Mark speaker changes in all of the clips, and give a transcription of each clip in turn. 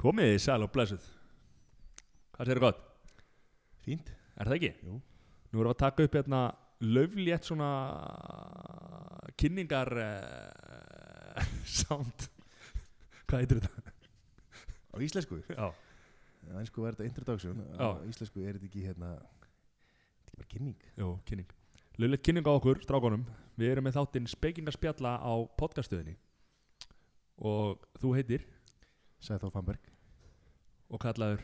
Speaker 1: Komið þið sæl og blessuð Hvað séu gott?
Speaker 2: Fínt.
Speaker 1: Er það ekki?
Speaker 2: Jú.
Speaker 1: Nú erum við að taka upp hérna löflétt svona kynningar uh, sound Hvað heitir þetta?
Speaker 2: Á íslensku?
Speaker 1: Já,
Speaker 2: Á íslensku var þetta introduction. Á íslensku er þetta ekki hérna, þetta er ekki bara kynning.
Speaker 1: jú, kynning Löflétt kynning á okkur, strákonum Við erum með þáttinn spekingarspjalla á podcastuðinni og þú heitir
Speaker 2: Sæði Þór Fannberg,
Speaker 1: og kallaður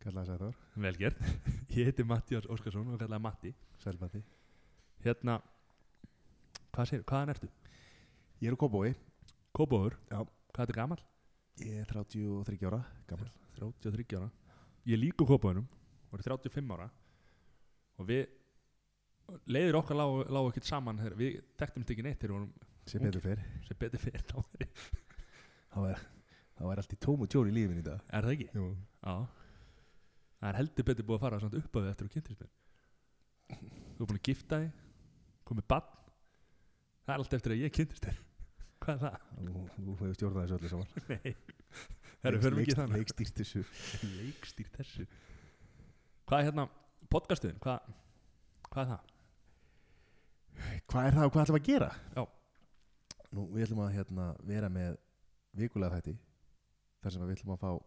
Speaker 2: kallaði Sæði Þór,
Speaker 1: velgerð Ég heiti Mattias Óskarsson og kallaður Matti
Speaker 2: Sælmati.
Speaker 1: Hérna, hvað segir, hvaðan ertu?
Speaker 2: Ég er úr Kóbói,
Speaker 1: Kópóður?
Speaker 2: Já.
Speaker 1: Hvað ertu gamall?
Speaker 2: ég er 33 ára, gammal.
Speaker 1: 33 ára Ég er líka kópóðunum og er 35 ára og við leiðir okkar lágu, lágu ekkert saman þegar við þekktum þetta ekki neitt þegar við vorum
Speaker 2: Sem
Speaker 1: Ung.
Speaker 2: betur fyrr.
Speaker 1: sem betur fyrir þá er ég-
Speaker 2: Það var, það var allt í tómu tjóri í lífinu í dag.
Speaker 1: Er það ekki?
Speaker 2: Jú.
Speaker 1: Já Það er heldur betur búið að fara samt upp á því eftir og kynntist mér Þú er búin að gifta þig komið bann Það er allt eftir að ég kynntist þér Hvað er það?
Speaker 2: Þú þú hefur stjórnað þessu öllu saman.
Speaker 1: Nei Það er fyrir mikið þannig
Speaker 2: Leikstýrt þessu.
Speaker 1: Leikstýr þessu Hvað er hérna podcastuðin? Hvað, hvað er það?
Speaker 2: Hvað er það og hvað ætlum við að gera?
Speaker 1: Já.
Speaker 2: Nú, við ætlum að hérna, vera með vikulega þætti, þar sem að við ætlum að fá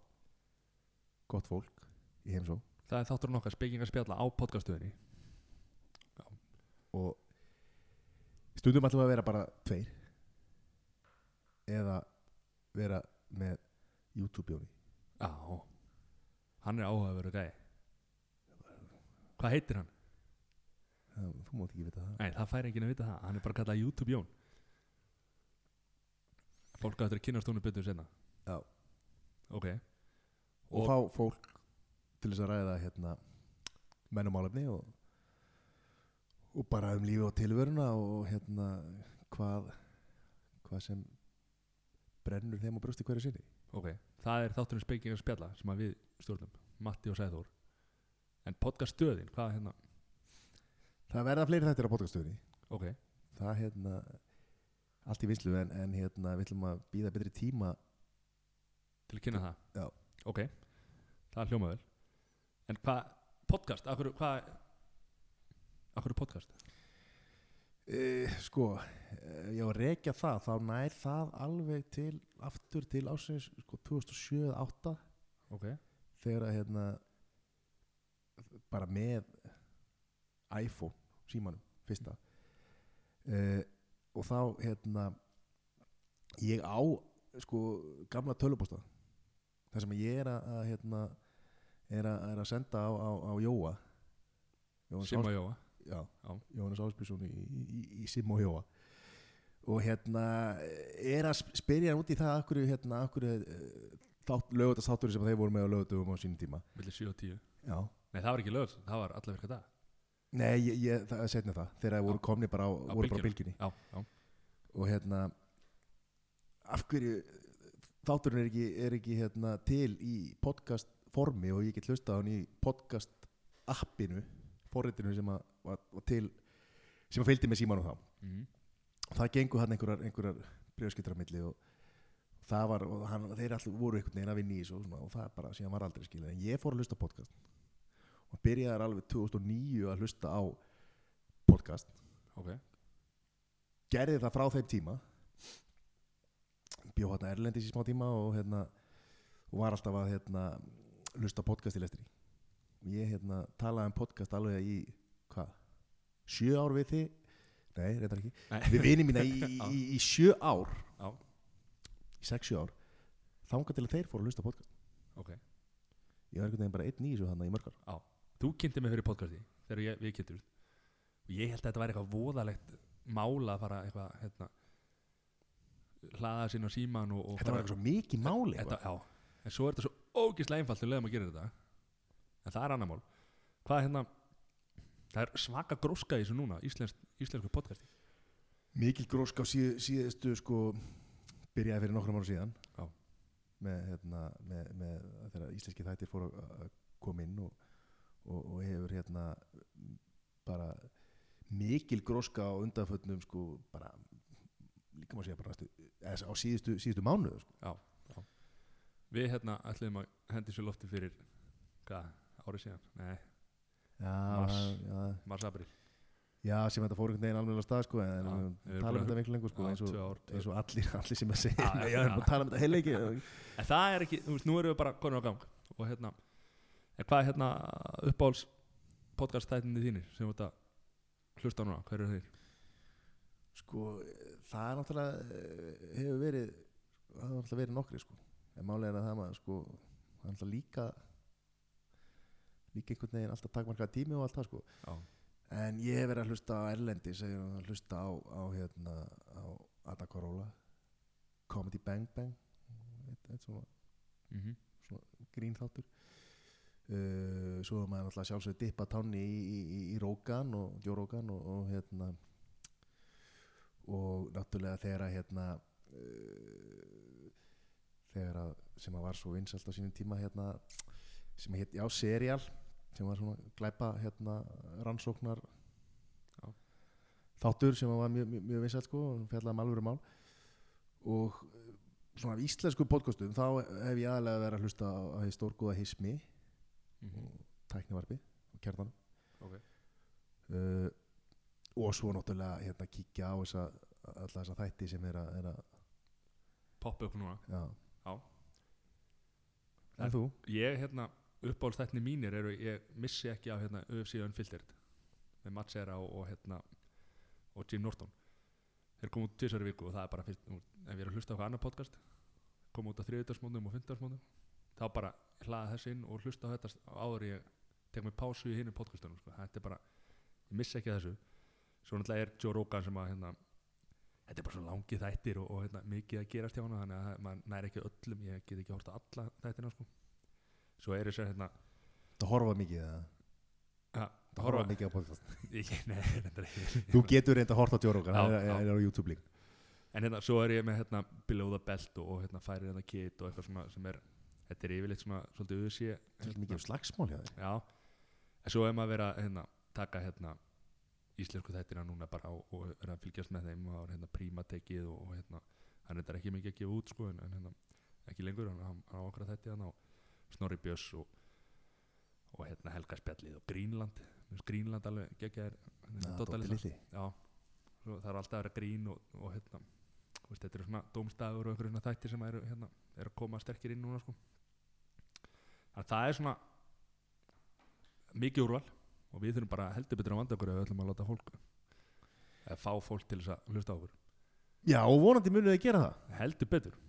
Speaker 2: gott fólk í heimsó.
Speaker 1: Það er þátturinn okkar spekingar spjalla á podcastuðinni
Speaker 2: og stundum ætlum við að vera bara tveir eða vera með YouTube-jóni
Speaker 1: Já Hann er áhugaverður gæi Hvað heitir hann?
Speaker 2: þú mátt ekki vita það
Speaker 1: Nei, það fær enginn að vita það Hann er bara kallað YouTube Jón Fólk að þetta er kynast honum betur senna
Speaker 2: Já.
Speaker 1: Ok
Speaker 2: og, fá fólk til þess að ræða hérna, mennumálefni og, og bara um lífi og tilveruna og hérna hvað hvað sem brennur þeim á brjósti hverju sinni
Speaker 1: Ok, það er þátturinn spekingar spjalla sem að við stjórnum, Matti og Sæþór En podcast stöðin, hvað er hérna
Speaker 2: það verða fleiri þættir á podcastöðunni
Speaker 1: Ok,
Speaker 2: það hérna allt í vinslu en, en hérna við ætlum að býða betri tíma
Speaker 1: til að kynna það
Speaker 2: Já.
Speaker 1: Ok, það er hljómaður En hvað, podcast, akkur, hvað Akkur er podcast?
Speaker 2: Uh, sko, eh, ég var að rekja það þá nær það alveg til aftur til ásins sko, 2007-2008
Speaker 1: Ok,
Speaker 2: þegar að hérna bara með iPhone símanum, fyrsta uh, og þá hérna ég á sko gamla tölubósta þar sem ég er að, að hérna er að, er að senda á, á, á Jóa Jóhann
Speaker 1: Simma Jóa
Speaker 2: já,
Speaker 1: Já.
Speaker 2: Jónas Ásbjörnsson í, í, í Sim og Jóa og hérna er að sp- spyrja hann út í það akkur, hérna, akkur lögut að þáttur sem þeir voru með á lögutum á sínum tíma
Speaker 1: Millir 7 og 10
Speaker 2: já.
Speaker 1: Nei, það var ekki lög, það var alla virka dag
Speaker 2: nei, ég, ég, það er setna það þegar þeir voru komni bara á,
Speaker 1: Á
Speaker 2: voru bara á bylginni
Speaker 1: Já, já,
Speaker 2: og hérna af hverju þátturinn er ekki, er ekki hérna, til í podcast formi og ég get hlustað á hann í podcast appinu, forritinu sem að, var, var til sem að fylgdi með símanum þá
Speaker 1: mm.
Speaker 2: og það gengur hann einhverjar, einhverjar brjóðskiptur á milli og það var, og hann, þeir allir voru einhvern veginn að vinna í þessu og, svona, og það bara, síðan var aldrei skilja en ég fór að hlusta á podcast og byrjaði alveg 2009 að hlusta á podcast
Speaker 1: ok
Speaker 2: gerði það frá þeim tíma bjó hérna Erlendis í smá tíma og hérna og var alltaf að hérna hlusta á podcast í lestri og ég hérna talaði um podcast alveg í hvað, sjö ár við þið nei, reyndar ekki
Speaker 1: Nei.
Speaker 2: við vinið mína í,
Speaker 1: Já.
Speaker 2: í, í sjö ár
Speaker 1: Já.
Speaker 2: í sex, sjö ár þangað til að þeir fóru að hlusta á podcast
Speaker 1: Ok,
Speaker 2: ég var einhvern veginn bara einn í þessu hann í mörgar
Speaker 1: þú kynnti mig fyrir podcasti þegar ég, við kynntum og ég held að þetta væri eitthvað voðalegt mála að fara eitthvað hérna, hlaða sinna síman og, og
Speaker 2: þetta
Speaker 1: fara-
Speaker 2: var eitthvað svo mikið máli
Speaker 1: þetta, já, en svo er þetta svo ógislega einfalt við lögum að gera þetta en það er annar mál hvað er hérna það er svaka gróska í þessu núna íslensk, íslensku podcasti
Speaker 2: mikil grósk á síð, síðustu sko byrjaði fyrir nokkrum ára síðan
Speaker 1: Já.
Speaker 2: með, hérna, með, með þegar íslenski þættir fóru að að koma inn og, og, og hefur hérna bara mikil gróska á undanfötnum sko bara líka maður segja bara næstu, eða á síðustu, síðustu mánuðu sko.
Speaker 1: Já, já. Við hérna ætlum að hendi sér lofti fyrir hvað, árið síðan? Nei,
Speaker 2: já,
Speaker 1: Mars.
Speaker 2: já,
Speaker 1: mars april
Speaker 2: já, sem þetta fór einhvern veginn alveg á stað sko, en
Speaker 1: Já,
Speaker 2: við
Speaker 1: við erum búin
Speaker 2: tala um
Speaker 1: að
Speaker 2: þetta miklu lengur sko,
Speaker 1: Já,
Speaker 2: eins og,
Speaker 1: tvö ár, tvö-
Speaker 2: eins og allir, allir sem að segja
Speaker 1: Já, já,
Speaker 2: já, já,
Speaker 1: já.
Speaker 2: tala um þetta heilegi
Speaker 1: En það er ekki, þú veist, nú erum við bara konur á gang og hérna, en hvað er hérna uppáhalds podcast þættinni þínir sem þú ert að hlusta á núna, hver eru þeir?
Speaker 2: sko, það er náttúrulega eh, hefur verið það hefur náttúrulega verið nokkri sko, en málega er að það maður sko, það er náttúrulega líka líka einhvern veginn alltaf takmarkað tími og allt það sko
Speaker 1: Já,
Speaker 2: En ég hef verið að hlusta á Erlendis ég hef verið að hlusta á, á, hérna, á Ada Corolla Comedy Bang Bang eitt, eitt svona
Speaker 1: mm
Speaker 2: grín þáttur uh, svo er maður alltaf sjálfsögð dippa tánni í, í, í, í Rókan og Jó Rókan og, og hérna og náttúrulega þegar að hérna uh, þegar að sem að var svo vinsælt á sínum tíma hérna sem að hétt, já, serial sem var svona glæpa hérna rannsóknar
Speaker 1: Já.
Speaker 2: þáttur sem að var mjög, mjög, mjög vinsælt sko, og fjallaði um alvöru mál og svona af íslensku podcastum þá hef ég aðalega verið að hlusta á, á hið stórgóða hismi
Speaker 1: mhm.
Speaker 2: tæknivarpi og kjartanum
Speaker 1: Ok,
Speaker 2: uh, og svo náttúrulega hérna kíkja á þessa, alla þessa þætti sem er að, er að
Speaker 1: poppa upp núna
Speaker 2: já.
Speaker 1: Já.
Speaker 2: en þú?
Speaker 1: Ég, hérna, uppáhalds þættinni mínir eru, ég missi ekki af hérna UFC Unfiltered með Matt Serra og, og hérna og Jim Norton Þeir komu út tvisar viku og það er bara fyrst, nú, ef ég er að hlusta á hvað annar podcast komu út á þriðutarsmónum og fymtarsmónum þá bara hlaða þess inn og hlusta á þetta s- áður ég tek mig pásu í hinu podcastunum sko. þetta er bara, ég missi ekki af þessu svo náttúrulega er Joe Rogan sem að hérna, þetta er bara svo langi þættir og, og hérna, mikið að gerast hjá hana þannig að maður næri ekki öllum, ég get ekki hort á alla þættina sko. svo er þess að hérna,
Speaker 2: það horfa mikið það
Speaker 1: ha,
Speaker 2: það horfa mikið á podcast
Speaker 1: ég, nei, reyndar ekki.
Speaker 2: þú getur reynda að horfa á
Speaker 1: Já,
Speaker 2: djórókan það er,
Speaker 1: já.
Speaker 2: er, er á YouTube líka
Speaker 1: en hérna, svo er ég með hérna, Below the Belt og, og hérna, færir hérna kit og eitthvað svona sem er þetta er yfirleitt svona svolítið öðsí
Speaker 2: Svolítið mikið um slagsmál hjá þér
Speaker 1: já, en svo er maður að vera hérna, taka hérna íslensku þættina núna bara og, og vera að fylgjast með þeim og það er hérna prímatekið og, og hérna, hann er þetta ekki mikið að gefa út sko, en, en hérna, ekki lengur, hann, hann, hann á okkar þætti hann á Snorri Björs og, og hérna Helga Spjallið og Grínland Mér finnst Grínland alveg geggjaðir hérna,
Speaker 2: Na,
Speaker 1: Doddi
Speaker 2: Doddi
Speaker 1: litli.
Speaker 2: litli.
Speaker 1: já, svo, það er alltaf að vera grín og, og hérna, þú veist, þetta eru svona dómstafur og einhverjum svona þættir sem eru, hérna, eru að koma sterkir inn núna sko. þannig að það er svona mikið úrval og við þurfum bara heldur betur að vanda okkur ef við ætlum að láta fólk eða fá fólk til þess að hlusta á okkur
Speaker 2: já og vonandi munið þið gera það
Speaker 1: heldur betur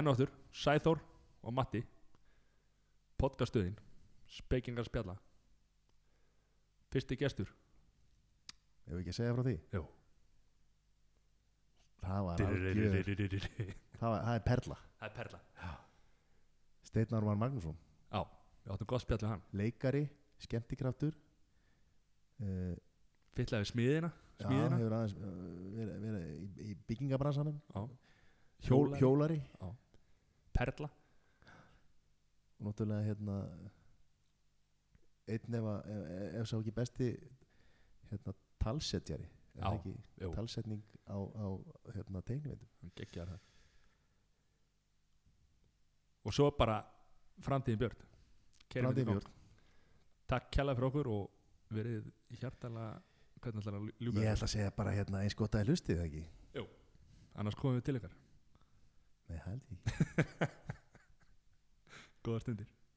Speaker 1: enn og áttur, Sæþór og Matti podcastuðin spekingar spjalla fyrsti gestur
Speaker 2: ef við ekki að segja frá því
Speaker 1: Jú.
Speaker 2: það var algjör
Speaker 1: það
Speaker 2: það, var, það er perla
Speaker 1: er perla
Speaker 2: Steinar Már Magnússon
Speaker 1: Já, við áttum gott spjall við hann
Speaker 2: leikari, skemmtikraftur uh,
Speaker 1: Fyllaði við smiðina,
Speaker 2: já,
Speaker 1: Smíðina?
Speaker 2: hefur aðeins uh, verið, verið í, í byggingabransanum
Speaker 1: já.
Speaker 2: hjól,
Speaker 1: Hjólari.
Speaker 2: hjólari
Speaker 1: perla
Speaker 2: og náttúrulega hérna einn ef, að- ef, ef- ef sá ekki besti hérna talsetjari er það
Speaker 1: Já,
Speaker 2: ekki,
Speaker 1: jú.
Speaker 2: talsetning á, á hérna tegniveitum
Speaker 1: Hann geggjar það Og svo bara framtíðin Björn Keyrum
Speaker 2: Blandið
Speaker 1: þetta í gang.
Speaker 2: mjörn,
Speaker 1: Takk kjalla fyrir okkur og verið hjartala hvernig ætlar að ljúka
Speaker 2: ég
Speaker 1: þessu?
Speaker 2: ætla að segja bara hérna eins gott að ég hlustið ekki
Speaker 1: Annars komum við til ykkar
Speaker 2: nei, held ég ekki
Speaker 1: Góðar stundir